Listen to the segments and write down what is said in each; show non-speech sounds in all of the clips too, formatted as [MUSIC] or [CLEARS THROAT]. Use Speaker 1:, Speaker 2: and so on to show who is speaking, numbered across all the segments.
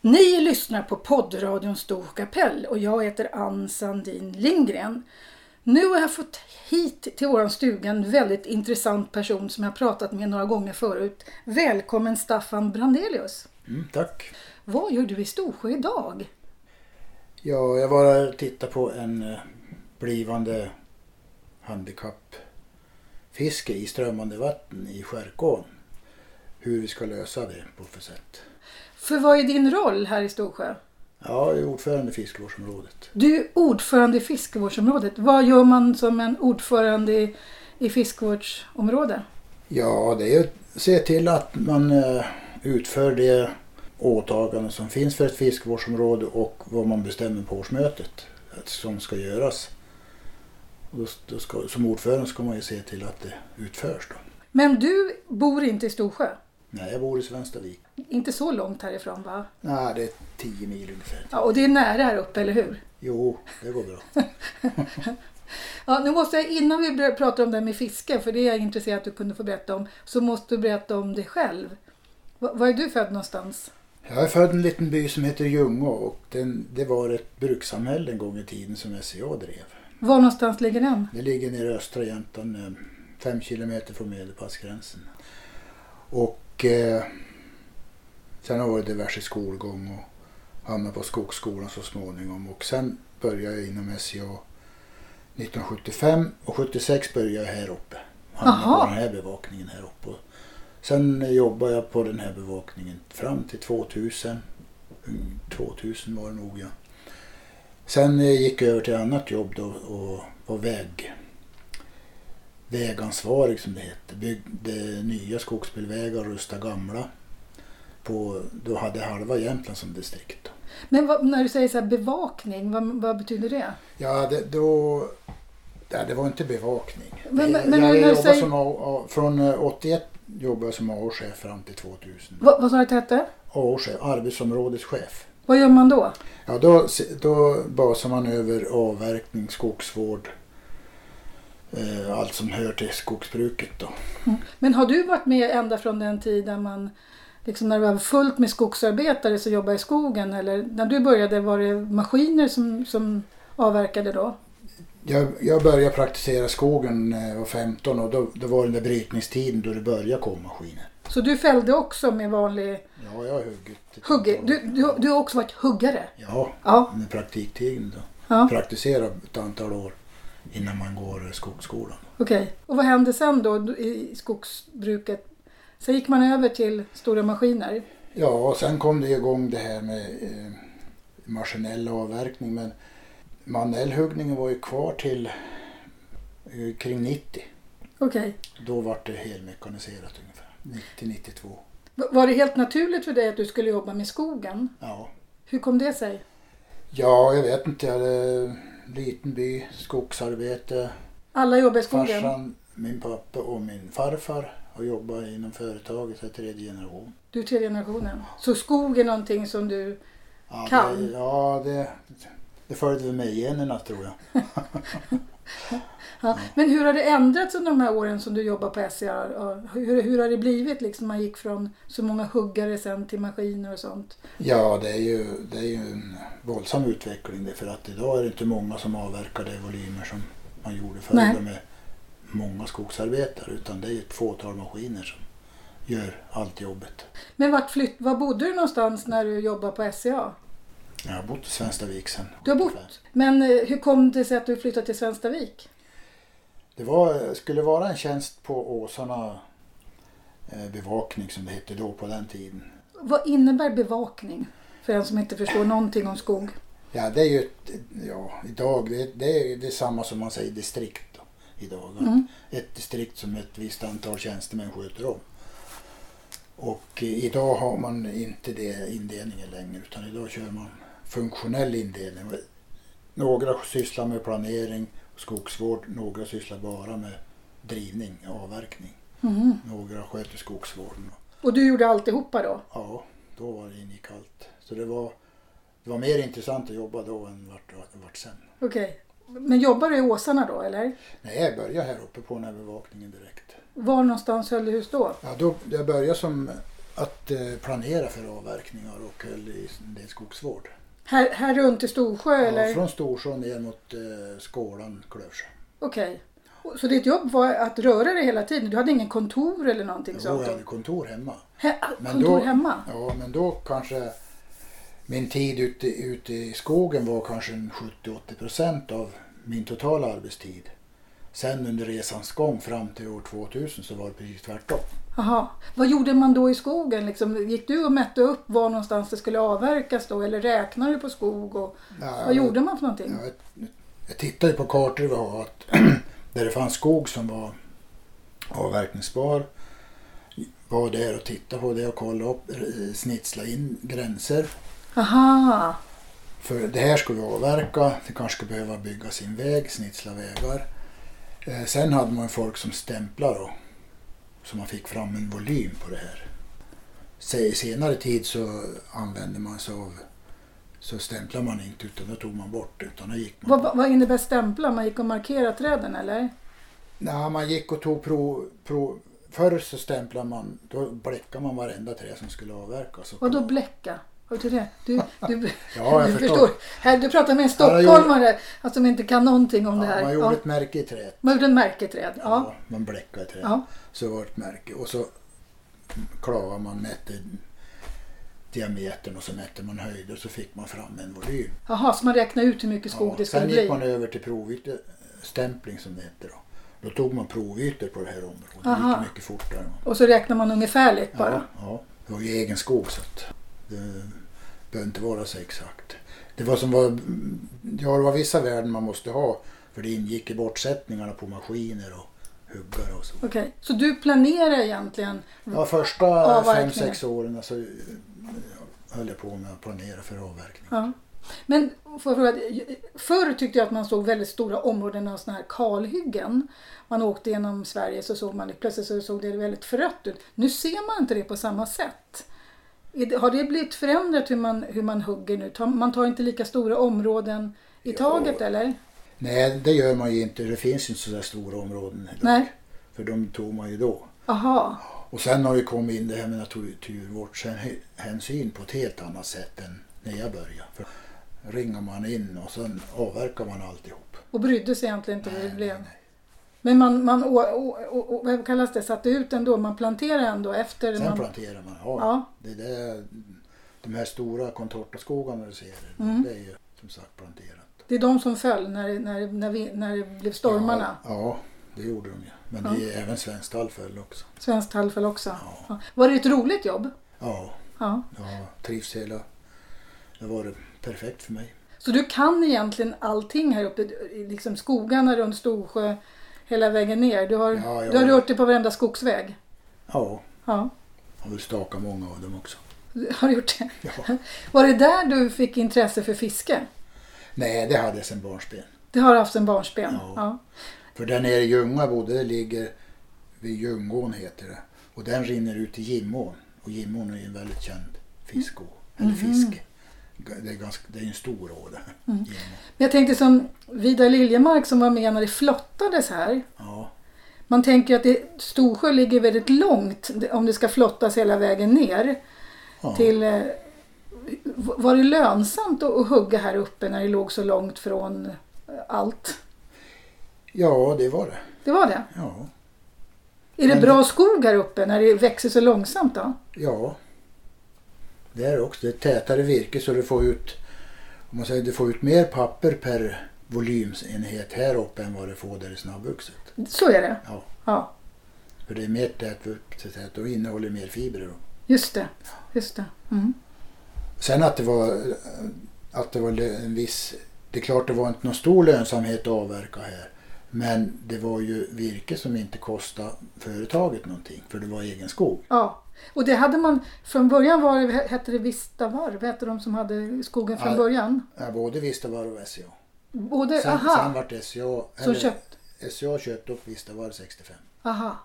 Speaker 1: Ni lyssnar på poddradion Stor kapell och jag heter Ann Sandin Lindgren. Nu har jag fått hit till våran stuga en väldigt intressant person som jag har pratat med några gånger förut. Välkommen Staffan Brandelius!
Speaker 2: Mm, tack.
Speaker 1: Vad gör du i Storsjö idag?
Speaker 2: Ja, jag var här och tittade på en eh, blivande handikappfiske i strömmande vatten i Skärkån. Hur vi ska lösa det på för sätt.
Speaker 1: För vad är din roll här i Storsjö?
Speaker 2: Ja, jag är ordförande i fiskevårdsområdet.
Speaker 1: Du är ordförande i fiskevårdsområdet. Vad gör man som en ordförande i, i fiskevårdsområde?
Speaker 2: Ja, det är att se till att man eh, utför det åtagande som finns för ett fiskevårdsområde och vad man bestämmer på årsmötet att som ska göras. Och då, då ska, som ordförande ska man ju se till att det utförs. Då.
Speaker 1: Men du bor inte i Storsjö?
Speaker 2: Nej, jag bor i Svenstavik.
Speaker 1: Inte så långt härifrån va?
Speaker 2: Nej, det är 10 mil ungefär.
Speaker 1: Ja, och det är nära här uppe, eller hur?
Speaker 2: Jo, det går bra.
Speaker 1: Ja, nu måste jag, innan vi börjar prata om det här med fiske, för det är jag intresserad att du kunde få berätta om, så måste du berätta om dig själv. Va- var är du född någonstans?
Speaker 2: Jag är född i en liten by som heter Ljungå och den, det var ett brukssamhälle en gång i tiden som SCA drev.
Speaker 1: Var någonstans ligger den?
Speaker 2: Det ligger nere i östra Jämtland, eh, fem kilometer från medelpassgränsen. Och eh, sen har det varit diverse skolgång och hamnade på skogsskolan så småningom. Och sen började jag inom SCA 1975 och 76 började jag här uppe. Hamnade
Speaker 1: Jaha.
Speaker 2: på den här bevakningen här uppe. Och Sen jobbade jag på den här bevakningen fram till 2000. Mm, 2000 var det nog ja. Sen eh, gick jag över till annat jobb då och var väg, vägansvarig som det hette. Byggde nya skogsbilvägar och rustade gamla. På, då hade halva Jämtland som distrikt. Då.
Speaker 1: Men vad, när du säger så här bevakning, vad, vad betyder det?
Speaker 2: Ja, det, då... Nej, det var inte bevakning.
Speaker 1: Men-
Speaker 2: jag
Speaker 1: men-
Speaker 2: jag
Speaker 1: men-
Speaker 2: jobbade
Speaker 1: säg-
Speaker 2: som, A- A- från eh, 81 jobbade jag som AO-chef fram till 2000.
Speaker 1: Va, vad sa du att det hette?
Speaker 2: AO-chef, arbetsområdeschef.
Speaker 1: Vad gör man då?
Speaker 2: Ja, då, se- då basar man över avverkning, skogsvård, eh, allt som hör till skogsbruket då.
Speaker 1: Men har du varit med ända från den tiden man Liksom när det var fullt med skogsarbetare som jobbade i skogen eller när du började var det maskiner som, som avverkade då?
Speaker 2: Jag, jag började praktisera skogen när jag var 15 och då, då var den där brytningstiden då det började komma maskiner.
Speaker 1: Så du fällde också med vanlig
Speaker 2: Ja, jag har huggit. ett
Speaker 1: hugge.
Speaker 2: antal
Speaker 1: Du, du,
Speaker 2: år.
Speaker 1: du har också varit huggare?
Speaker 2: Ja,
Speaker 1: Ja.
Speaker 2: med praktiktiden då.
Speaker 1: ja.
Speaker 2: praktisera ett antal år innan man går skogsskolan.
Speaker 1: Okej. Och vad hände sen då i skogsbruket? Sen gick man över till stora maskiner.
Speaker 2: Ja, och sen kom det igång det här med eh, maskinell avverkning men manuell huggning var ju kvar till eh, kring 90.
Speaker 1: Okej.
Speaker 2: Då var det helmekaniserat ungefär. 90-92.
Speaker 1: V- Var det helt naturligt för dig att du skulle jobba med skogen?
Speaker 2: Ja.
Speaker 1: Hur kom det sig?
Speaker 2: ja, jag vet inte. Jag hade en liten by, skogsarbete.
Speaker 1: Alla jobbar i skogen.
Speaker 2: Farsan, min pappa och min farfar har jobbat inom företaget i tredje generation.
Speaker 1: Du är tredje generationen. Så skog är någonting som du...
Speaker 2: Ja,
Speaker 1: Kan.
Speaker 2: Det, ja, det, det följde väl med i generna tror jag.
Speaker 1: Ja. Men hur har det ändrats under de här åren som du jobbar på SCR? Och Hur, hur har det blivit liksom man gick från så många huggare sen till maskiner och sånt?
Speaker 2: Ja, det är ju, det är ju en våldsam utveckling det, för att idag är det inte många som avverkar de volymer som man gjorde förr
Speaker 1: Nej.
Speaker 2: då med många skogsarbetare utan det är ju ett fåtal maskiner som gör allt jobbet.
Speaker 1: Men vart flytt, var bodde du någonstans när du jobbade på E SCA?
Speaker 2: Jag har bott i Svenstavik sen.
Speaker 1: Du har bott. Men eh, hur kom det sig att du flyttade till Svenstavik?
Speaker 2: Det var, skulle vara en tjänst på Åsarna eh, bevakning som det hette då på den tiden.
Speaker 1: Vad innebär bevakning? För en som inte förstår någonting om skog.
Speaker 2: Ja, det är ju ett, ja, idag, det, det är detsamma som man säger distrikt då, idag. Att
Speaker 1: Mm.
Speaker 2: Ett distrikt som ett visst antal tjänstemän sköter om. Och eh, idag har man inte det indelningen längre utan idag kör man funktionell indelning. Några sysslar med planering och skogsvård, några sysslar bara med drivning, avverkning.
Speaker 1: Mhm.
Speaker 2: Några sköter skogsvården.
Speaker 1: Och du gjorde alltihopa då?
Speaker 2: Ja, då var det ingick allt. Så det var, det var mer intressant att jobba då än vart, vart sen.
Speaker 1: Okej. Men jobbar du i Åsarna då eller?
Speaker 2: Nej, jag började här uppe på den här bevakningen direkt.
Speaker 1: Var någonstans höll du hus då?
Speaker 2: Ja, då, jag började som att eh, planera för avverkningar och höll i en del skogsvård.
Speaker 1: Här, här runt i Storsjö
Speaker 2: Ja,
Speaker 1: eller?
Speaker 2: från Storsjön ner mot eh, Skålan, Klövsjö.
Speaker 1: Okej. Och- Så ditt jobb var att röra dig hela tiden? Du hade ingen kontor eller någonting
Speaker 2: Då
Speaker 1: sånt?
Speaker 2: hade jag kontor hemma.
Speaker 1: He- ah,
Speaker 2: Men
Speaker 1: kontor
Speaker 2: då-
Speaker 1: hemma?
Speaker 2: Ja, men då kanske min tid ute, ute i skogen var kanske en 70-80 procent av min totala arbetstid. Sen under resans gång fram till år 2000 så var det precis tvärtom.
Speaker 1: Jaha. Vad gjorde man då i skogen? Liksom, gick du och mätte upp var någonstans det skulle avverkas då? Eller räknade du på skog? Och,
Speaker 2: Ja,
Speaker 1: vad gjorde man för någonting?
Speaker 2: Jag, jag tittade på kartor vi har att [CLEARS THROAT] där det fanns skog som var avverkningsbar var där och titta på det och kolla upp, eh, snitsla in gränser.
Speaker 1: Aha.
Speaker 2: För det här ska vi avverka, det kanske ska behöva bygga sin väg, snitsla vägar. Eh, Sen hade man ju folk som stämplade då, så man fick fram en volym på det här. Se- I senare tid så använde man sig av, så stämplade man inte utan då tog man bort utan då gick man.
Speaker 1: Vad, vad- vad innebär stämpla? Man gick och markerade träden eller?
Speaker 2: Nej, man gick och tog prov, prov. Förr så stämplade man, då bläckade man varenda trä som skulle avverkas. Och
Speaker 1: Vadå bläcka? Vad betyder det? Du, du, [LAUGHS]
Speaker 2: jag
Speaker 1: du
Speaker 2: förstår.
Speaker 1: Här, du pratar med en
Speaker 2: Ja, jag
Speaker 1: stockholmare alltså, som inte kan någonting om det
Speaker 2: ja,
Speaker 1: här.
Speaker 2: man gjorde
Speaker 1: ja.
Speaker 2: ett märke i träet.
Speaker 1: man gjorde en märketräd. Ja.
Speaker 2: Ja, man bläckade i träet.
Speaker 1: Ja.
Speaker 2: Så det var ett märke. Och så klavade man, mätte diametern och så mätte man höjd och så fick man fram en volym.
Speaker 1: Jaha, så man räknade ut hur mycket skog det skulle
Speaker 2: Sen
Speaker 1: bli?
Speaker 2: gick man över till provytestämpling som det heter. Då. då tog man provytor på det här området. Det
Speaker 1: Aha.
Speaker 2: gick mycket fortare.
Speaker 1: Och så räknar man ungefärligt bara?
Speaker 2: Ja, ja. Det var ju egen skog så att det behöver inte vara så exakt. Det var som var, ja, det var vissa värden man måste ha för det ingick i bortsättningarna på maskiner och huggare och så.
Speaker 1: Okej, så du planerar egentligen?
Speaker 2: Ja, första
Speaker 1: Mm. Avverkningar.
Speaker 2: 5-6 åren så eh, höll jag på med att planera för avverkning.
Speaker 1: Ja. Men får jag fråga, förr tyckte jag att man såg väldigt stora områden av sådana här kalhyggen. Man åkte genom Sverige så såg man det, plötsligt så såg det väldigt förött ut. Nu ser man inte det på samma sätt. Är det- Har det blivit förändrat hur man, hur man hugger nu? Tar- Man tar inte lika stora områden i
Speaker 2: Ja.
Speaker 1: taget eller?
Speaker 2: Nej, det gör man ju inte. Det finns ju inte så där stora områden. idag.
Speaker 1: Nej.
Speaker 2: För de tog man ju då.
Speaker 1: Aha.
Speaker 2: Och sen har ju kommit in det här med naturvårdshänsyn på ett helt annat sätt än när jag började. För ringar man in och sen avverkar man alltihop.
Speaker 1: Och brydde sig egentligen inte hur det blev.
Speaker 2: nej.
Speaker 1: Men man, man å, å, å, å, vad kallas det, satte ut ändå, man planterade ändå efter
Speaker 2: Sen
Speaker 1: man...
Speaker 2: planterar man. Ja,
Speaker 1: Ja.
Speaker 2: Det är det, de här stora contortaskogarna du ser, det är ju som sagt planterat.
Speaker 1: Det är de som föll när, när, när, vi, när det blev stormarna.
Speaker 2: Ja, ja, det gjorde de ju. Men det är även svenskt tallfäll också.
Speaker 1: Svenskt tall föll också. Ja. Var det ett roligt jobb?
Speaker 2: Ja,
Speaker 1: Ja.
Speaker 2: jag trivs hela... Det var det perfekt för mig.
Speaker 1: Så du kan egentligen allting här uppe, i liksom skogarna runt Storsjö, hela vägen ner. Du har,
Speaker 2: Ja, ja.
Speaker 1: du har rört dig på varenda skogsväg.
Speaker 2: Ja,
Speaker 1: Ja, [LAUGHS]
Speaker 2: jag vill staka många av dem också.
Speaker 1: du har gjort det.
Speaker 2: Ja.
Speaker 1: Var det där du fick intresse för fiske?
Speaker 2: Nej, det hade jag sedan barnsben.
Speaker 1: Det har du haft en barnsben?
Speaker 2: Ja.
Speaker 1: Ja.
Speaker 2: För där nere i Ljunga bodde, det ligger vid Ljungån heter det. Och den rinner ut i Gimån. Och Gimån är ju en väldigt känd fiskå, eller fiske. Det är, ganska, det är ju en stor å det. Gimån.
Speaker 1: Men jag tänkte som Vidar Liljemark som var med när det flottades här.
Speaker 2: Ja,
Speaker 1: Man tänker ju att det, Storsjö ligger väldigt långt om det ska flottas hela vägen ner.
Speaker 2: ja.
Speaker 1: till... eh, Var det lönsamt att att hugga här uppe när det låg så långt från eh, allt?
Speaker 2: ja, det var det.
Speaker 1: Det var det.
Speaker 2: Ja,
Speaker 1: Är det
Speaker 2: Men-
Speaker 1: bra skog här uppe när det växer så långsamt då?
Speaker 2: ja. Det är också. Det är tätare virke så du får ut, om man säger, du får ut mer papper per volymenhet här uppe än vad du får där i snabbvuxet.
Speaker 1: Så är det.
Speaker 2: Ja,
Speaker 1: Ja,
Speaker 2: för det är mer tätvuxet och innehåller mer fibrer. Då.
Speaker 1: just det. Just det. Mm.
Speaker 2: Sen att det var, att det var en viss... Det är klart det var inte någon stor lönsamhet att avverka här. Men det var ju virke som inte kostade företaget någonting för det var egen skog.
Speaker 1: Ja. Och det hade man, från början var det, hette det Vistavarv, hette de som hade skogen från
Speaker 2: Ja.
Speaker 1: början?
Speaker 2: Ja, Både Vistavarv och SCA.
Speaker 1: Både,
Speaker 2: Sen, sen
Speaker 1: aha,
Speaker 2: vart SCA...
Speaker 1: så
Speaker 2: Eller,
Speaker 1: köpt,
Speaker 2: SCA köpte upp Vistavarv 65.
Speaker 1: aha.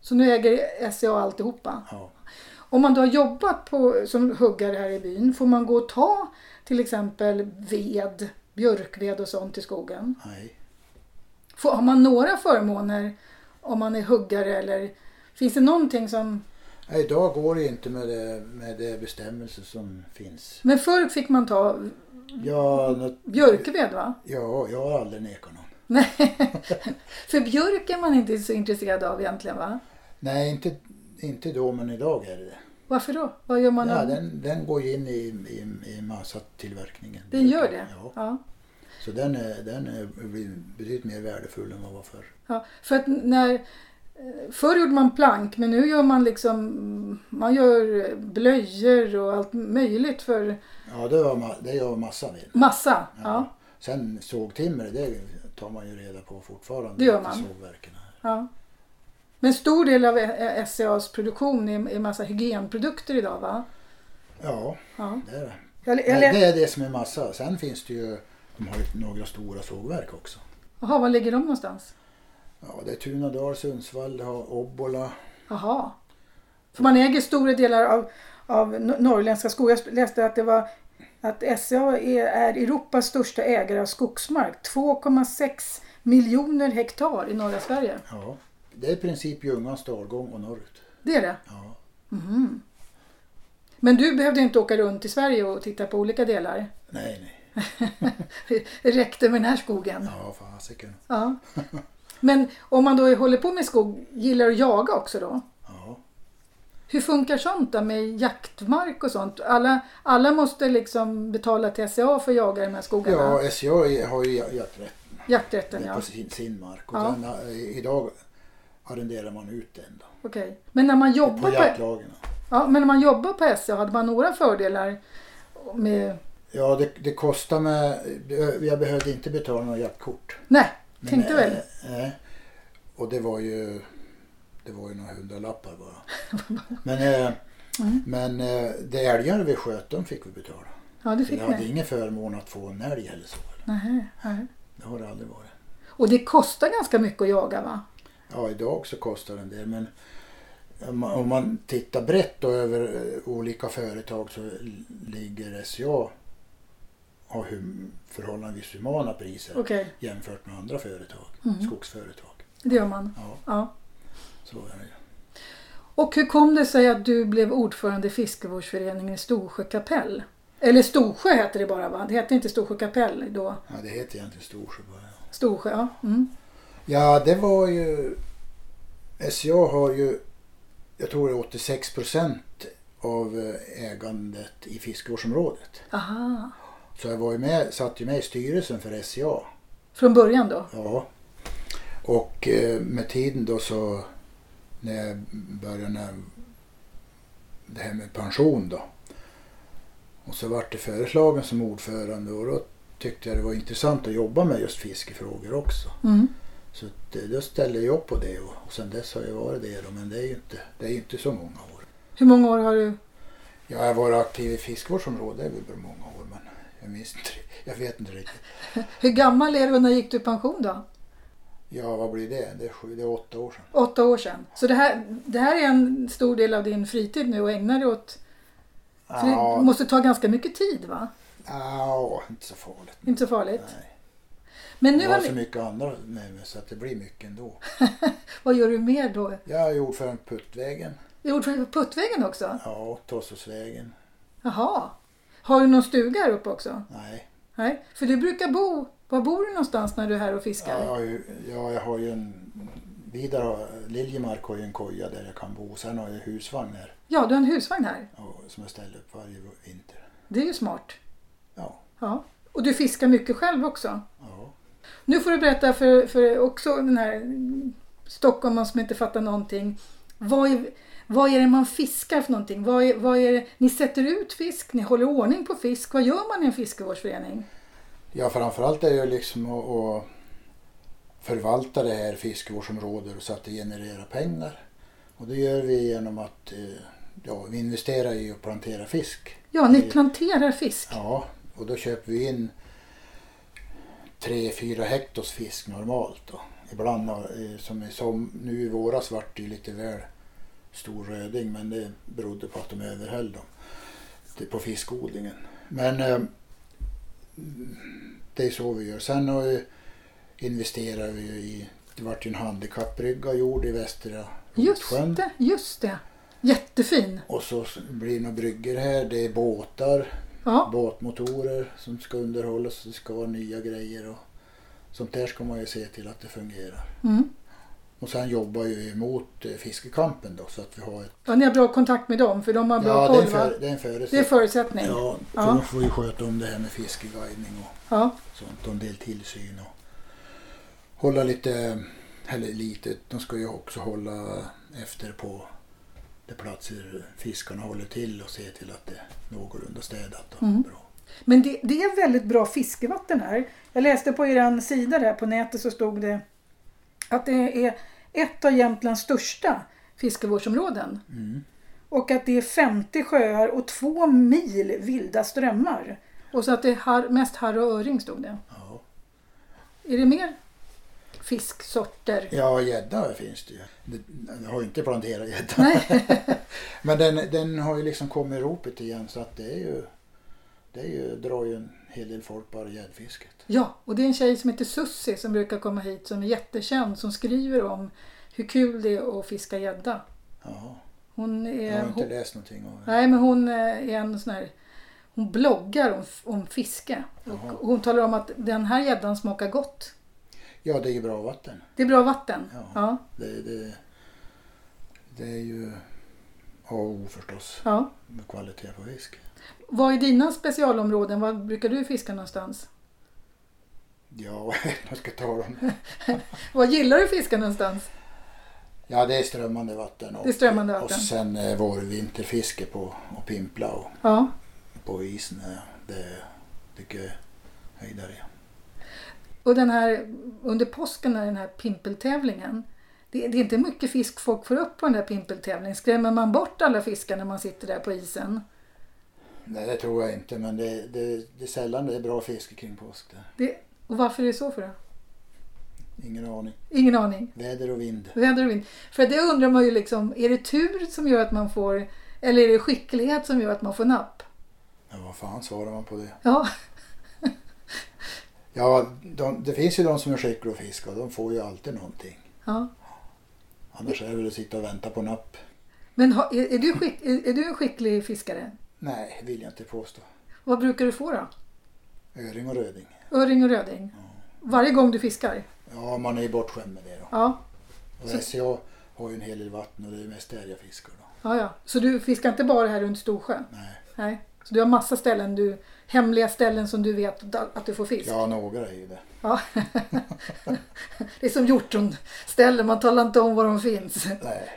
Speaker 1: Så nu äger SCA alltihopa?
Speaker 2: Ja.
Speaker 1: Om man då har jobbat på, som huggare här i byn, får man gå och ta till exempel ved, björkved och sånt i skogen?
Speaker 2: Nej.
Speaker 1: Får, har man några förmåner om man är huggare eller finns det någonting som...
Speaker 2: Nej, idag går det inte med det, med det bestämmelser som finns.
Speaker 1: Men förr fick man ta Mm.
Speaker 2: Ja, nå-
Speaker 1: björkved va? [LAUGHS]
Speaker 2: ja, jag har aldrig nekat någon.
Speaker 1: Nej, för björk är man inte så intresserad av egentligen va?
Speaker 2: Nej, inte, inte då men idag är det det.
Speaker 1: Varför då? Vad gör man?
Speaker 2: Ja,
Speaker 1: av-
Speaker 2: den, den går ju in i, i, i massatillverkningen.
Speaker 1: Den gör det?
Speaker 2: Ja,
Speaker 1: Ja.
Speaker 2: så den är, den är blir betydligt mer värdefull än vad var förr.
Speaker 1: Ja, för att när, eh, förr gjorde man plank men nu gör man liksom man gör blöjor och allt möjligt för
Speaker 2: Ja, det, var, ma- det gör massa ved.
Speaker 1: massa. Ja.
Speaker 2: Ja. Sen sågtimmer, det tar man ju reda på fortfarande.
Speaker 1: Det gör
Speaker 2: ute i
Speaker 1: man.
Speaker 2: Sågverken. här.
Speaker 1: Ja. Men stor del av eh, SCAs produktion är är massa hygienprodukter idag va?
Speaker 2: Ja,
Speaker 1: Ja.
Speaker 2: det är det.
Speaker 1: Jag, jag,
Speaker 2: Men
Speaker 1: lä-
Speaker 2: Det är det som är massa. Sen finns det ju, de har ju några stora sågverk också.
Speaker 1: Jaha, var ligger de någonstans?
Speaker 2: Ja, det är Tunadal, Sundsvall, det har Obbola.
Speaker 1: Jaha. För man äger stora delar av, av no- norrländska skogar. Jag läste att det var att SCA är, är Europas största ägare av skogsmark. 2,6 miljoner hektar i norra Sverige.
Speaker 2: Ja. Det är i princip Ljungans dalgång och norrut.
Speaker 1: Det är det.
Speaker 2: Ja.
Speaker 1: Men du behövde inte åka runt i Sverige och titta på olika delar. [LAUGHS]
Speaker 2: Nej, nej.
Speaker 1: Det räckte med den här skogen.
Speaker 2: Ja, fasiken.
Speaker 1: Ja. Men om man då håller på med skog, gillar att jaga också då?
Speaker 2: Ja.
Speaker 1: Hur funkar sånt då med jaktmark och sånt? Alla, alla måste liksom betala till SCA för att jaga i de här skogarna?
Speaker 2: ja, SCA har ju jakträtt
Speaker 1: Jakträtten ja.
Speaker 2: på sin, sin mark. Och
Speaker 1: Ja.
Speaker 2: sen, eh, idag arrenderar man ut den då.
Speaker 1: Okej. Men när man
Speaker 2: På
Speaker 1: jobbar på,
Speaker 2: jaktlagen.
Speaker 1: ja, men när man jobbar på SCA, hade man några fördelar? Med,
Speaker 2: Ja, det, det kostar mig... Jag behövde inte betala något jaktkort.
Speaker 1: nej,
Speaker 2: Men,
Speaker 1: tänkte
Speaker 2: eh,
Speaker 1: väl.
Speaker 2: eh, och det var ju... Det var ju några hundralappar
Speaker 1: [LAUGHS]
Speaker 2: bara. men eh,
Speaker 1: Mm.
Speaker 2: men eh, det älgar vi sköt, de fick vi betala.
Speaker 1: Ja, det
Speaker 2: Så
Speaker 1: fick
Speaker 2: jag hade
Speaker 1: ni.
Speaker 2: ingen förmån att få en älg eller så.
Speaker 1: Nej, nej.
Speaker 2: Det har det aldrig varit.
Speaker 1: Och det kostar ganska mycket att jaga va?
Speaker 2: Ja, idag så kostar den det. Men om man- om man tittar brett då över eh, olika företag så l- ligger SCA har hum, förhållandevis humana priser
Speaker 1: Okej,
Speaker 2: jämfört med andra företag, skogsföretag.
Speaker 1: det gör man.
Speaker 2: Ja,
Speaker 1: Ja.
Speaker 2: så är det ju.
Speaker 1: Och hur kom det sig att du blev ordförande i fiskevårdsföreningen i Storsjö kapell? Eller Storsjö heter det bara va? Det hette inte Storsjö kapell då?
Speaker 2: Ja, det heter egentligen Storsjö bara. ja.
Speaker 1: Storsjö, ja. Mm.
Speaker 2: Ja, det var ju... SCA har ju, jag tror det är 86 procent av eh, ägandet i fiskevårdsområdet.
Speaker 1: Aha.
Speaker 2: Så jag var ju med, satt ju med i styrelsen för SCA.
Speaker 1: Från början då?
Speaker 2: Ja. Och eh, med tiden då så när jag började när det här med pension då. Och så vart det föreslagen som ordförande och då tyckte jag det var intressant att jobba med just fiskefrågor också.
Speaker 1: Mm.
Speaker 2: Så att, eh, då ställde jag upp på det och, och sen dess har jag varit det då, men det är ju inte, det är ju inte så många år.
Speaker 1: Hur många år har du?
Speaker 2: Jag har varit aktiv i fiskevårdsområdet, det är väl bara många år men jag minns inte, [LAUGHS] jag vet inte riktigt.
Speaker 1: Hur gammal är du och när gick du i pension då?
Speaker 2: Ja, vad blir det? Det är, sju, det är åtta år sedan.
Speaker 1: Åtta år sedan. Så det här, det här är en stor del av din fritid nu och ägnar dig åt... Så
Speaker 2: Ja,
Speaker 1: det måste ta ganska mycket tid va?
Speaker 2: Ja, inte så farligt.
Speaker 1: Inte så farligt.
Speaker 2: Nej.
Speaker 1: Men nu
Speaker 2: Jag har
Speaker 1: har
Speaker 2: så
Speaker 1: vi...
Speaker 2: mycket andra med mig så att det blir mycket ändå.
Speaker 1: Vad gör du mer då?
Speaker 2: Jag är ordförande på Puttvägen
Speaker 1: Du är ordförande på Puttvägen också?
Speaker 2: ja, och Tossåsvägen.
Speaker 1: Jaha. Har du någon stuga här uppe också?
Speaker 2: Nej,
Speaker 1: Nej, för du brukar bo... Var bor du någonstans när du är här och fiskar?
Speaker 2: jag har ju, ja, jag har ju en... Vidar har- Liljemark har ju en koja där jag kan bo. Sen har jag husvagn här
Speaker 1: Ja, du har en husvagn här.
Speaker 2: och, som jag ställer upp varje vinter.
Speaker 1: Det är ju smart.
Speaker 2: Ja,
Speaker 1: Ja. Och du fiskar mycket själv också.
Speaker 2: ja.
Speaker 1: Nu får du berätta för, för också den här stockholmaren som inte fattar någonting. Vad är, vad är det man fiskar för någonting? Vad är, vad är det? Ni sätter ut fisk, ni håller ordning på fisk. Vad gör man i en fiskevårdsförening?
Speaker 2: ja framförallt är det ju liksom att, att förvalta det här fiskevårdsområdet så att det genererar pengar. Och det gör vi genom att eh, ja, vi investerar i att plantera fisk.
Speaker 1: Ja, ni planterar fisk.
Speaker 2: Ja, och då köper vi in 3-4 hektos fisk normalt. Då. Ibland har- eh, som i som, nu i våras vart det ju lite väl stor röding men det berodde på att de överhöll dem Det- på fiskodlingen. Men eh, det är så vi gör. Sen har vi, investerar vi ju i, det vart ju en handikapprygga gjord i Västra
Speaker 1: Just
Speaker 2: Rotsjön.
Speaker 1: det, just det. Jättefin.
Speaker 2: Och så blir det några bryggor här. Det är båtar,
Speaker 1: Ja,
Speaker 2: båtmotorer som ska underhållas. Det ska vara nya grejer och sånt där ska man ju se till att det fungerar.
Speaker 1: mm.
Speaker 2: Och sen jobbar ju vi emot eh, fiskekampen då så att vi har ett...
Speaker 1: ja ni har bra kontakt med dem för de har bra
Speaker 2: Ja, det är
Speaker 1: koll
Speaker 2: en,
Speaker 1: va?
Speaker 2: för, det är en
Speaker 1: Det är
Speaker 2: förutsättning.
Speaker 1: förutsättning. Ja.
Speaker 2: Ja, för de får ju sköta om det här med fiskeguidning och
Speaker 1: Ja.
Speaker 2: sånt och en del tillsyn och hålla lite, eller lite, de ska ju också hålla efter på de platser fiskarna håller till och se till att det är någorlunda städat och
Speaker 1: Mm.
Speaker 2: bra.
Speaker 1: Men det, det är väldigt bra fiskevatten här. Jag läste på er sida där på nätet så stod det att det är ett av Jämtlands största fiskevårdsområden.
Speaker 2: Mm.
Speaker 1: Och att det är 50 sjöar och två mil vilda strömmar. Och så att det är har, mest harr och öring stod det.
Speaker 2: Ja.
Speaker 1: Är det mer fisksorter?
Speaker 2: ja, gädda finns det ju. Det- Jag har ju inte planterat gädda.
Speaker 1: Nej.
Speaker 2: Men den, den har ju liksom kommit i ropet igen så att det är ju, det är ju, drar ju en hel del folk bara gäddfisket.
Speaker 1: Ja, och det är en tjej som heter Sussi som brukar komma hit som är jättekänd som skriver om hur kul det är att fiska gädda.
Speaker 2: Ja,
Speaker 1: Hon är...
Speaker 2: jag har
Speaker 1: hon-
Speaker 2: inte läst någonting om det.
Speaker 1: Nej, men hon eh, är en sån här... Hon bloggar om, om fiske.
Speaker 2: Jaha.
Speaker 1: Och hon talar om att den här gäddan smakar gott.
Speaker 2: Ja, det är ju bra vatten.
Speaker 1: Det är bra vatten.
Speaker 2: Ja.
Speaker 1: Ja.
Speaker 2: Det, det, det är ju A och O förstås,
Speaker 1: ja.
Speaker 2: med kvalitet på fisk.
Speaker 1: Vad är dina specialområden? Var brukar du fiska någonstans?
Speaker 2: Ja, [LAUGHS] jag ska ta dem.
Speaker 1: Vad gillar du fiska någonstans?
Speaker 2: Ja, det är strömmande vatten. Och,
Speaker 1: Det är strömmande vatten.
Speaker 2: Och sen eh, vår vinterfiske på och pimpla och
Speaker 1: Ja.
Speaker 2: på isen. eh, Det tycker jag är höjdare.
Speaker 1: Och den här, under påsken är den här pimpeltävlingen. Det, det är inte mycket fisk folk får upp på den där pimpeltävlingen. Skrämmer man bort alla fiskar när man sitter där på isen?
Speaker 2: Nej, det tror jag inte, men det, det, det är sällan det är bra fiske kring påsk. Där.
Speaker 1: Det, och varför är det så för då?
Speaker 2: Ingen aning.
Speaker 1: Ingen aning.
Speaker 2: Väder och vind.
Speaker 1: Väder och vind. För det undrar man ju liksom, är det tur som gör att man får, eller är det skicklighet som gör att man får napp?
Speaker 2: Ja, vad fan svarar man på det?
Speaker 1: Ja,
Speaker 2: Ja, de, det finns ju de som är skickliga att fiska och de får ju alltid någonting.
Speaker 1: ja.
Speaker 2: Annars är det väl att sitta och vänta på napp.
Speaker 1: Men ha, är, är, du skick, är, är du en skicklig fiskare?
Speaker 2: Nej, vill jag inte påstå.
Speaker 1: Vad brukar du få då?
Speaker 2: Öring och röding.
Speaker 1: Öring och röding? Varje gång du fiskar?
Speaker 2: Ja, man är ju bortskämd med det då.
Speaker 1: Ja, Så-
Speaker 2: Och SCA har ju en hel del vatten och det är mest där jag fiskar då.
Speaker 1: ja, ja. Så du fiskar inte bara här runt Storsjön?
Speaker 2: Nej.
Speaker 1: Nej. Så du har massa ställen, du, hemliga ställen som du vet att du får fisk?
Speaker 2: Ja, några är ju det.
Speaker 1: Ja. det är som hjortronställen, man talar inte om var de finns.
Speaker 2: Nej,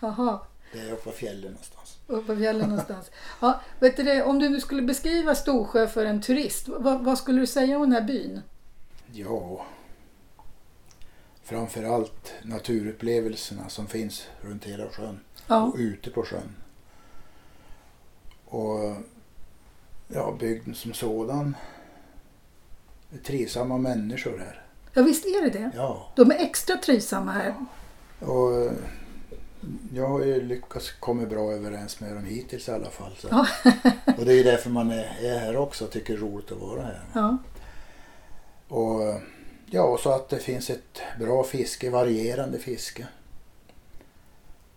Speaker 1: Jaha.
Speaker 2: det är uppe på fjällen någonstans.
Speaker 1: Uppe på fjällen någonstans. Ja, vet du det, om du nu skulle beskriva Storsjö för en turist, vad, vad skulle du säga om den här byn?
Speaker 2: Ja. Framförallt naturupplevelserna som finns runt hela sjön
Speaker 1: Ja,
Speaker 2: och ute på sjön. Och ja, bygden som sådan. Det är Trivsamma människor här.
Speaker 1: ja visst är det det.
Speaker 2: Ja.
Speaker 1: De är extra trivsamma här.
Speaker 2: Och eh, jag har ju lyckats komma bra överens med dem hittills i alla fall. Så.
Speaker 1: Ja. [LAUGHS]
Speaker 2: Och det är ju därför man är, är här också och tycker det är roligt att vara här.
Speaker 1: Ja,
Speaker 2: Och eh, ja, och så att det finns ett bra fiske, varierande fiske.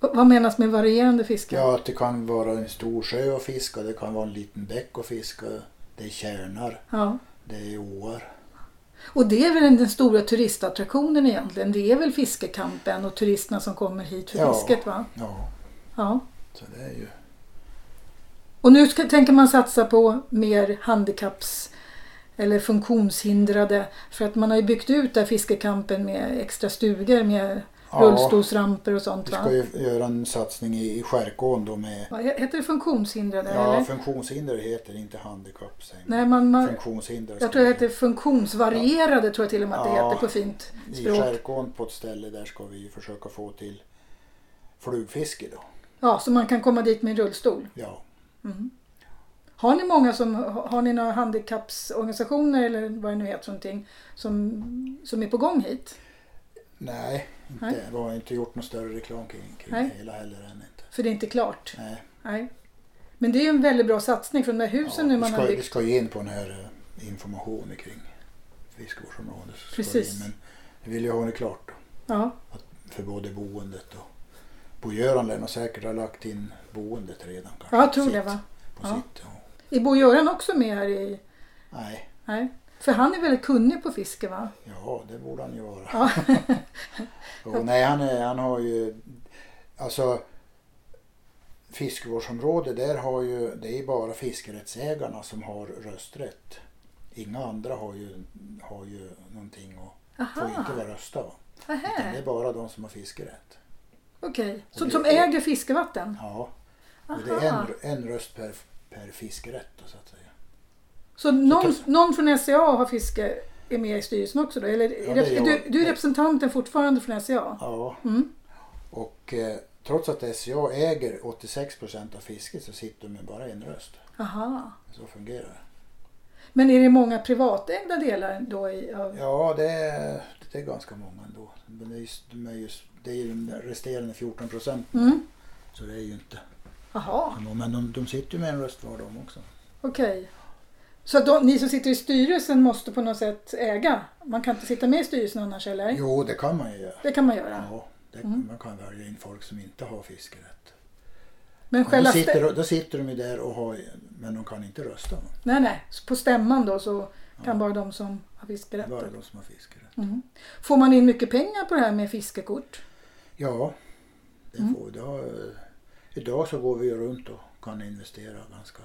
Speaker 1: V- vad menas med varierande fiske?
Speaker 2: Ja, att det kan vara en stor sjö att fiska, det kan vara en liten bäck att fiska. Det är tjärnar,
Speaker 1: Ja.
Speaker 2: det är åar.
Speaker 1: Och det är väl den den stora turistattraktionen egentligen. Det är väl fiskekampen och turisterna som kommer hit för
Speaker 2: Ja.
Speaker 1: fisket va?
Speaker 2: Ja,
Speaker 1: Ja.
Speaker 2: så det är ju...
Speaker 1: Och nu ska, tänker man satsa på mer handikapps eller funktionshindrade. För att man har ju byggt ut där fiskekampen med extra stugor med
Speaker 2: Ja,
Speaker 1: rullstolsramper och sånt
Speaker 2: vi
Speaker 1: va?
Speaker 2: ska ju göra en satsning i, i skärgården då med...
Speaker 1: Vad he- Heter det funktionshindrade?
Speaker 2: Ja,
Speaker 1: eller?
Speaker 2: funktionshinder heter det, inte handikapp. säger man.
Speaker 1: Nej, man, man,
Speaker 2: Funktionshinder.
Speaker 1: jag
Speaker 2: ska
Speaker 1: tror det
Speaker 2: vi-
Speaker 1: heter funktionsvarierade, tror jag till och med att det
Speaker 2: Ja.
Speaker 1: heter på fint
Speaker 2: I
Speaker 1: språk.
Speaker 2: skärgården på ett ställe där ska vi ju försöka få till flugfiske då.
Speaker 1: Ja, så man kan komma dit med en rullstol. Mm.
Speaker 2: Ja,
Speaker 1: Har ni många som, har ni några handikappsorganisationer eller vad det nu heter för någonting som, som är på gång hit?
Speaker 2: nej, inte,
Speaker 1: Nej.
Speaker 2: vi har inte gjort någon större reklam kring, kring
Speaker 1: Nej.
Speaker 2: det hela heller än inte.
Speaker 1: För det är inte klart.
Speaker 2: Nej.
Speaker 1: Nej. Men det är ju en väldigt bra satsning från de där
Speaker 2: Ja,
Speaker 1: husen nu
Speaker 2: vi,
Speaker 1: man
Speaker 2: ska,
Speaker 1: har
Speaker 2: vi
Speaker 1: byggt.
Speaker 2: ska ge in på den här eh, informationen kring fiskevårdsområdet. så ska vi
Speaker 1: Precis.
Speaker 2: in, Men vi vill ju ha det klart då,
Speaker 1: Ja,
Speaker 2: för både boendet och Bo-Göran lär nog säkert ha lagt in boendet redan. Kanske.
Speaker 1: Ja, jag tror det
Speaker 2: Sitt-
Speaker 1: va.
Speaker 2: På
Speaker 1: Ja.
Speaker 2: sitt, ja.
Speaker 1: Är Bo-Göran också med här i...
Speaker 2: Nej,
Speaker 1: Nej. För han är väldigt kunnig på fiske va?
Speaker 2: ja det borde han ju vara.
Speaker 1: Ja.
Speaker 2: Och nej, han, är, han har ju... Alltså, fiskevårdsområde, där har ju... Det är bara fiskerättsägarna som har rösträtt. Inga andra har ju, har ju någonting och får
Speaker 1: Aha,
Speaker 2: inte vara rösta. Va? Utan det
Speaker 1: nähä.
Speaker 2: är bara de som har fiskerätt.
Speaker 1: Okej. Så
Speaker 2: det-
Speaker 1: som äger fiskevatten?
Speaker 2: Ja, och det är
Speaker 1: Aha.
Speaker 2: en, en röst per, per fiskerätt då, så att säga.
Speaker 1: Så någon,
Speaker 2: kanske-
Speaker 1: någon från SCA har fiske är med i styrelsen också då? Eller
Speaker 2: Ja, det är
Speaker 1: är
Speaker 2: jag.
Speaker 1: du, du är representanten fortfarande från SCA?
Speaker 2: Ja,
Speaker 1: Mm.
Speaker 2: och eh, trots att SCA äger 86 procent av fisket så sitter de med bara en röst.
Speaker 1: Aha.
Speaker 2: Så fungerar det.
Speaker 1: Men är det många privatägda delar då? I, av...
Speaker 2: Ja, det är, det är ganska många ändå. Men det är, just, de är just, det är ju de resterande 14 procent.
Speaker 1: Mm.
Speaker 2: Så det är ju inte.
Speaker 1: Aha,
Speaker 2: Men de, de sitter ju med en röst var de också.
Speaker 1: okej. Så att de, ni som sitter i styrelsen måste på något sätt äga? Man kan inte sitta med i styrelsen annars eller?
Speaker 2: Jo, det kan man ju göra.
Speaker 1: Det kan man göra.
Speaker 2: Ja, det,
Speaker 1: Mm.
Speaker 2: Man kan välja in folk som inte har fiskerätt.
Speaker 1: Men
Speaker 2: Men då,
Speaker 1: själva stä-
Speaker 2: sitter, då sitter de ju där och har, men de kan inte rösta. va?
Speaker 1: nej, nej. Så På stämman då så
Speaker 2: Ja.
Speaker 1: kan bara de som har
Speaker 2: Det är
Speaker 1: fiskerätt.
Speaker 2: bara de som har fiskerätt.
Speaker 1: Mm. Får man in mycket pengar på det här med fiskekort?
Speaker 2: Ja, det
Speaker 1: Mm.
Speaker 2: får vi. Det har, eh, idag så går vi ju runt och kan investera ganska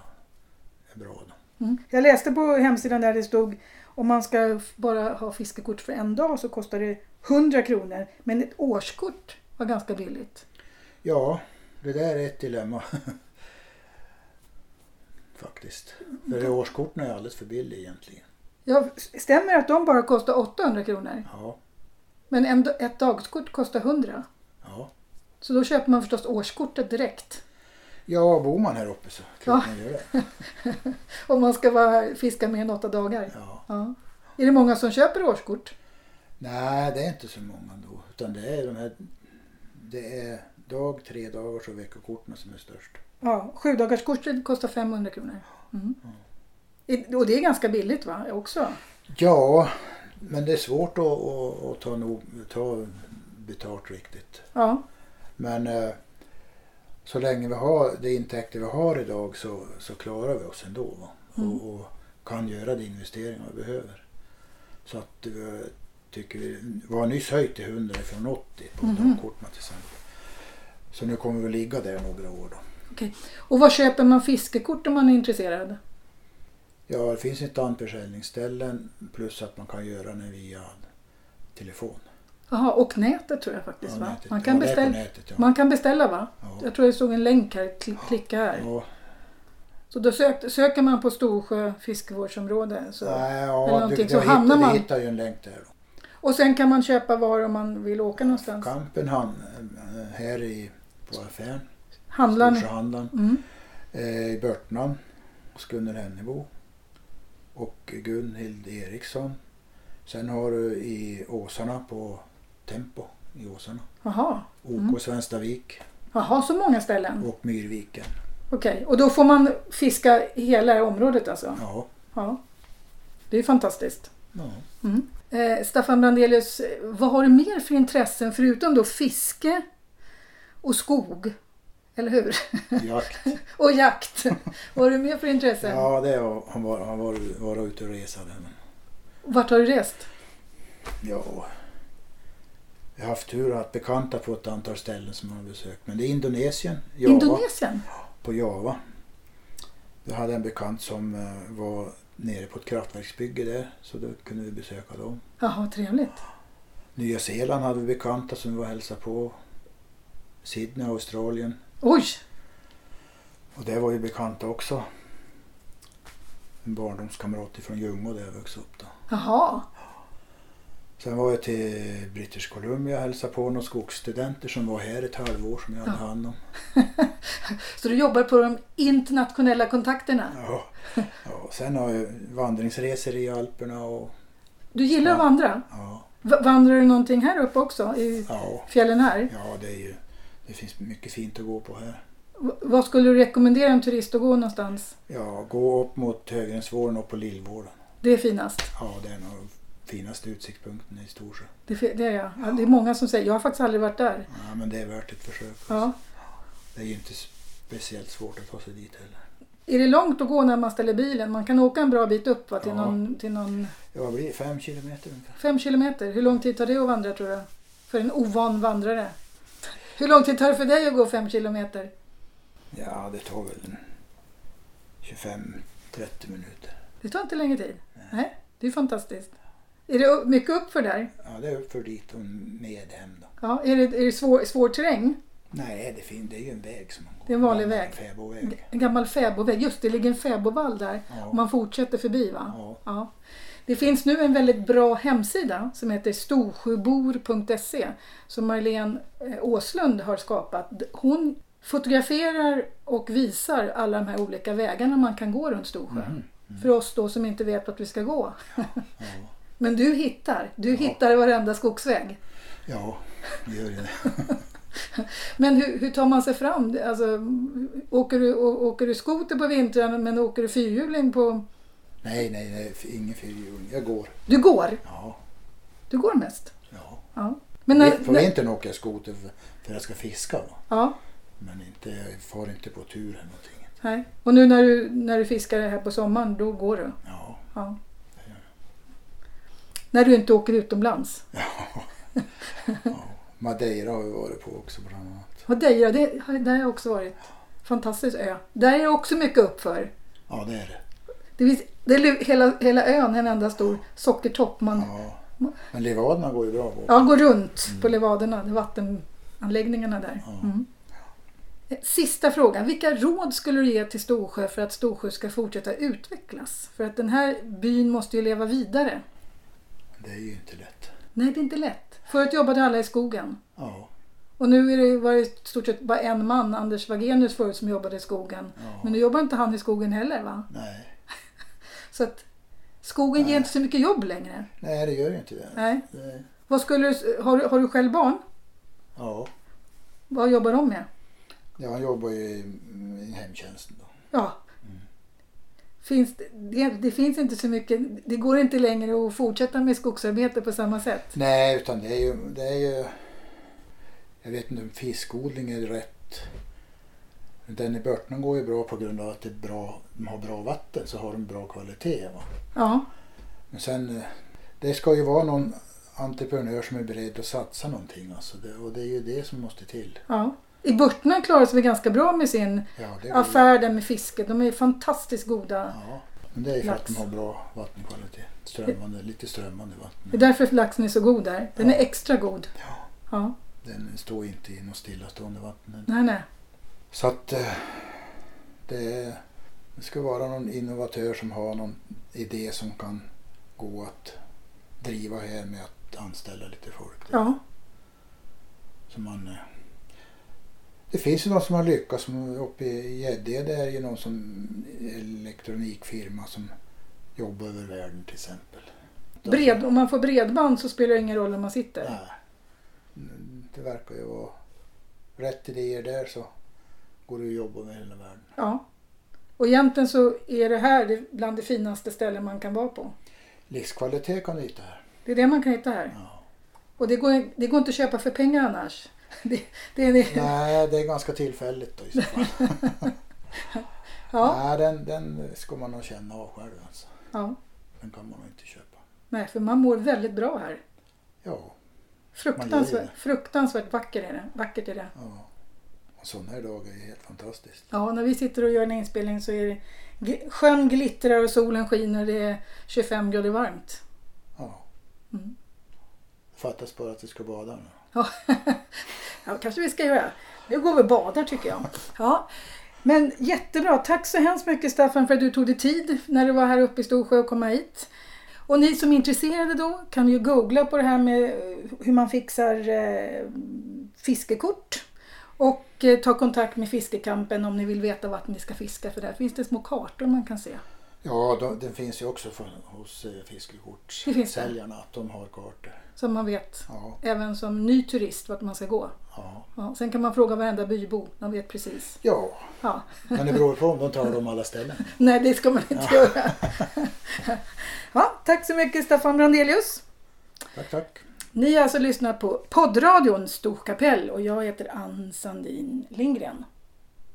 Speaker 2: bra. Då.
Speaker 1: Mm. Jag läste på hemsidan där det stod om man ska f- bara ha fiskekort för en dag så kostar det 100 kronor. Men ett årskort var ganska billigt.
Speaker 2: Ja, det där är ett dilemma. [LAUGHS] Faktiskt. För
Speaker 1: Mm.
Speaker 2: det årskorten är alldeles för billig egentligen.
Speaker 1: Ja, s- stämmer det att de bara kostar 800 kronor?
Speaker 2: Ja,
Speaker 1: Men en, d- ett dagskort kostar 100.
Speaker 2: ja.
Speaker 1: Så då köper man förstås årskortet direkt.
Speaker 2: ja bor man här uppe så kan
Speaker 1: Ja.
Speaker 2: man göra det.
Speaker 1: Om man ska vara, fiska mer än åtta dagar.
Speaker 2: Ja.
Speaker 1: Ja. Är det många som köper årskort?
Speaker 2: Nej, det är inte så många då. Utan det är de här... Det är dag, tre dagars och veckokorten som är störst.
Speaker 1: Ja, sjudagarskortet kostar 500 kronor. Mm.
Speaker 2: Ja.
Speaker 1: I- Och det är ganska billigt va? Också?
Speaker 2: Ja, men det är svårt att, att, att ta, nog, ta betalt riktigt.
Speaker 1: Ja.
Speaker 2: Men eh, så länge vi har de intäkter vi har idag så, så klarar vi oss ändå. Va?
Speaker 1: Mm.
Speaker 2: Och, och kan göra de investeringar vi behöver. Så att vi tycker vi, vi har nyss höjt till 100 från 80 på
Speaker 1: Mhm.
Speaker 2: mm. korten till exempel. Så nu kommer vi ligga där några år då.
Speaker 1: Och var köper man fiskekort om man är intresserad?
Speaker 2: Ja, det finns ett antal försäljningsställen plus att man kan göra det via telefon.
Speaker 1: Jaha, och nätet tror jag faktiskt
Speaker 2: Ja,
Speaker 1: va?
Speaker 2: nätet.
Speaker 1: Man kan,
Speaker 2: Ja, det är på
Speaker 1: beställa,
Speaker 2: nätet, ja.
Speaker 1: man kan beställa va?
Speaker 2: Ja.
Speaker 1: Jag tror jag såg en länk här, kli- klicka här.
Speaker 2: Ja,
Speaker 1: Så då sök, söker man på Storsjö fiskevårdsområde. Så.
Speaker 2: nej,
Speaker 1: Eller
Speaker 2: ja, du,
Speaker 1: någonting,
Speaker 2: du,
Speaker 1: så
Speaker 2: hittar,
Speaker 1: hamnar man-
Speaker 2: du hittar ju en länk där. Då.
Speaker 1: Och sen kan man köpa var om man vill åka någonstans.
Speaker 2: Kampen han, eh, här i, på affären,
Speaker 1: Handlar ni?
Speaker 2: Storsjöhandlaren,
Speaker 1: Mm.
Speaker 2: eh, i Börtnan hos Gunnel Hennebo och Gunhild Eriksson. Sen har du i Åsarna på Tempo i Åsarna,
Speaker 1: Jaha.
Speaker 2: OK
Speaker 1: Mm.
Speaker 2: Svenstavik
Speaker 1: Jaha, så många ställen.
Speaker 2: och Myrviken.
Speaker 1: Okej, och då får man fiska i hela det här området alltså?
Speaker 2: Ja,
Speaker 1: Ja. Det är fantastiskt.
Speaker 2: ja.
Speaker 1: Mm. Eh, Staffan Brandelius, eh, vad har du mer för intressen förutom då fiske och skog? Eller hur? [LAUGHS]
Speaker 2: jakt.
Speaker 1: Och jakt. vad har du mer för intressen?
Speaker 2: Ja, det har han var, han var, var ute och resa där. Men,
Speaker 1: Vart har du rest?
Speaker 2: ja. Jag har haft tur att bekanta på ett antal ställen som man har besökt. Men det är Indonesien, Java.
Speaker 1: Indonesien?
Speaker 2: på Java. Jag hade en bekant som eh, var nere på ett kraftverksbygge där så då kunde vi besöka dem.
Speaker 1: Jaha, trevligt.
Speaker 2: Nya Zeeland hade vi bekanta som vi var och hälsade på. Sydney, Australien.
Speaker 1: Oj!
Speaker 2: Och det var ju bekanta också. En barndomskamrat från Ljungå där jag växte upp då.
Speaker 1: Jaha.
Speaker 2: Sen var jag till British Columbia och hälsade på några skogsstudenter som var här ett halvår som jag hade
Speaker 1: Ja.
Speaker 2: hand om.
Speaker 1: Så du jobbar på de internationella kontakterna?
Speaker 2: Ja. Ja, sen har jag vandringsresor i Alperna och
Speaker 1: Du gillar att
Speaker 2: Ja.
Speaker 1: vandra?
Speaker 2: ja,
Speaker 1: V- vandrar du någonting här uppe också? I
Speaker 2: ja.
Speaker 1: fjällen här?
Speaker 2: Ja, det är ju... Det finns mycket fint att gå på här.
Speaker 1: V- vad skulle du rekommendera en turist att gå någonstans?
Speaker 2: Ja, gå upp mot Högrensvåren och på Lillvården.
Speaker 1: Det är finast.
Speaker 2: Ja, det är nog finaste utsiktspunkten i Storsjö.
Speaker 1: Det, fi- det är jag. Ja, Det är många som säger, jag har faktiskt aldrig varit där.
Speaker 2: Ja, men det är värt ett försök.
Speaker 1: Ja.
Speaker 2: Det är ju inte speciellt svårt att ta sig dit heller.
Speaker 1: Är det långt att gå när man ställer bilen? Man kan åka en bra bit upp va? Till,
Speaker 2: Ja.
Speaker 1: någon, till någon
Speaker 2: Ja, vad blir det? Fem kilometer ungefär.
Speaker 1: Fem kilometer, hur lång tid tar det att vandra tror du? För en ovan vandrare. Hur lång tid tar det för dig att gå fem kilometer?
Speaker 2: Ja, det tar väl en 25-30 minuter.
Speaker 1: Det tar inte länge tid. Nej. det är fantastiskt. Är det upp- mycket uppför där?
Speaker 2: Ja, det är uppför dit och med hem då.
Speaker 1: Ja, är det, är det svår, svår terräng?
Speaker 2: Nej, det, fin- det är ju en väg som man går.
Speaker 1: Det är en vanlig väg. Mm.
Speaker 2: En fäbodväg.
Speaker 1: En gammal fäbodväg. Just det, det ligger en fäbodvall där.
Speaker 2: Mm. Ja.
Speaker 1: Och man fortsätter förbi va?
Speaker 2: Ja.
Speaker 1: Ja. Det finns nu en väldigt bra hemsida som heter storsjöbor.se som Marlene eh, Åslund har skapat. Hon fotograferar och visar alla de här olika vägarna man kan gå runt Storsjö.
Speaker 2: Mm.
Speaker 1: För oss då som inte vet vart vi ska gå.
Speaker 2: Ja.
Speaker 1: Men du hittar, du
Speaker 2: Ja.
Speaker 1: hittar varenda skogsväg.
Speaker 2: ja, det gör ju det. [LAUGHS]
Speaker 1: Men hur, hur tar man sig fram? Alltså, åker, du, å- åker du skoter på vintern men åker du fyrhjuling på...
Speaker 2: Nej, nej, nej ingen fyrhjuling. Jag går.
Speaker 1: Du går,
Speaker 2: Ja,
Speaker 1: du går mest.
Speaker 2: ja.
Speaker 1: Ja. Men när,
Speaker 2: på
Speaker 1: när,
Speaker 2: vintern åker jag skoter för, för jag ska fiska. Då.
Speaker 1: ja.
Speaker 2: Men inte, jag far inte på tur eller någonting.
Speaker 1: Nej. Och nu när du, när du fiskar här på sommaren, då går du?
Speaker 2: Ja, [LAUGHS]
Speaker 1: Ja. När du inte åker utomlands?
Speaker 2: ja. ja. Madeira har vi varit på också bland annat.
Speaker 1: Madeira, det, har- där har jag också varit. Fantastisk ö. Där är det också mycket uppför.
Speaker 2: Ja, det är det.
Speaker 1: Det finns, det är lu- hela, hela ön är en enda stor sockertopp. Man
Speaker 2: Ja. Men levaderna går ju bra på.
Speaker 1: Mm. ja, går runt på levaderna, de vattenanläggningarna där. Mm. Sista frågan. Vilka råd skulle du ge till Storsjö för att Storsjö ska fortsätta utvecklas? För att den här byn måste ju leva vidare.
Speaker 2: Det är ju inte lätt.
Speaker 1: Nej, det är inte lätt. Förut jobbade alla i skogen.
Speaker 2: Ja,
Speaker 1: Och nu är det, var det i stort sett bara en man, Anders Wagenius förut, som jobbade i skogen.
Speaker 2: Ja.
Speaker 1: Men nu jobbar inte han i skogen heller va?
Speaker 2: nej.
Speaker 1: Så att skogen ger inte så mycket jobb längre.
Speaker 2: Nej, det gör ju inte det.
Speaker 1: Nej.
Speaker 2: det
Speaker 1: Vad skulle du, har, du- har du själv barn?
Speaker 2: ja.
Speaker 1: Vad jobbar de med?
Speaker 2: ja, han jobbar ju i, i hemtjänsten då.
Speaker 1: Ja. Finns, det- det, det finns inte så mycket, det går inte längre att fortsätta med skogsarbete på samma sätt.
Speaker 2: Nej, utan det är ju... Det är ju jag vet inte om fiskodling är rätt. Den i Börtnan går ju bra på grund av att det är bra, de har bra vatten så har de bra kvalitet. Va?
Speaker 1: Ja,
Speaker 2: Men sen, eh, det ska ju vara någon entreprenör som är beredd att satsa någonting. Alltså det, och det är ju det som måste till.
Speaker 1: ja. I Burtna klarar sig vi ganska bra med sin
Speaker 2: Ja, det går ju-
Speaker 1: affär där med fisket. De är fantastiskt goda.
Speaker 2: Ja, men det är ju för att de
Speaker 1: Lax.
Speaker 2: har bra vattenkvalitet. Strömmande, lite strömmande vatten.
Speaker 1: Det är därför laxen är så god där. Den är
Speaker 2: Ja.
Speaker 1: extra god.
Speaker 2: Ja,
Speaker 1: Ja.
Speaker 2: den står inte i något stillastående vatten.
Speaker 1: Nej, nej.
Speaker 2: Så att eh, det, det ska vara någon innovatör som har någon idé som kan gå att driva här med att anställa lite folk.
Speaker 1: Ja,
Speaker 2: Så man, eh, det finns ju någon som har lyckats. Som uppe i Gäddede det är ju någon som elektronikfirma som jobbar över världen till exempel.
Speaker 1: bred, om man får bredband så spelar det ingen roll om man sitter.
Speaker 2: Nej. Det verkar ju vara rätt idéer där så går det att jobba med hela världen.
Speaker 1: Ja. Och egentligen så är det här det- bland det finaste ställen man kan vara på.
Speaker 2: Livskvalitet kan du hitta här.
Speaker 1: Det är det man kan hitta här.
Speaker 2: Ja.
Speaker 1: Och det går, det går inte att köpa för pengar annars. [LAUGHS] Det, det, det,
Speaker 2: Nej, det är ganska tillfälligt då i så fall.
Speaker 1: [LAUGHS] ja,
Speaker 2: Nej, den, den ska man nog känna av själv alltså.
Speaker 1: ja.
Speaker 2: Den kan man nog inte köpa.
Speaker 1: Nej, för man mår väldigt bra här.
Speaker 2: Ja, Man gör ju
Speaker 1: Fruktansvärt,
Speaker 2: det.
Speaker 1: fruktansvärt vacker är det. vackert är det.
Speaker 2: ja. Och sådana här dagar är helt fantastiskt.
Speaker 1: Ja, när vi sitter och gör en inspelning så är det gl- sjön glittrar och solen skiner. Det är 25 grader varmt.
Speaker 2: Ja.
Speaker 1: Mm.
Speaker 2: Fattas bara att vi ska bada nu.
Speaker 1: Ja, [LAUGHS] ja kanske vi ska göra. Nu går vi och badar tycker jag. Ja. Men jättebra. Tack så hemskt mycket Staffan för att du tog dig tid när du var här uppe i Storsjö och kom hit. Och ni som är intresserade då kan ju googla på det här med eh, hur man fixar eh, fiskekort. Och eh, ta kontakt med Fiskekampen om ni vill veta vart ni ska fiska för där finns det små kartor man kan se.
Speaker 2: Ja, de, den finns ju också från, hos eh, fiskekortssäljarna. Att de har kartor.
Speaker 1: Som man vet,
Speaker 2: Ja,
Speaker 1: även som ny turist, vart man ska gå.
Speaker 2: ja.
Speaker 1: Ja, sen kan man fråga varenda bybo, de vet precis.
Speaker 2: ja,
Speaker 1: Ja.
Speaker 2: men det beror på om de talar om alla ställen.
Speaker 1: Nej, det ska man inte göra. ja, tack så mycket Staffan Brandelius.
Speaker 2: Tack, tack.
Speaker 1: Ni har alltså lyssnat på poddradion Storkapell och jag heter Ann Sandin Lindgren.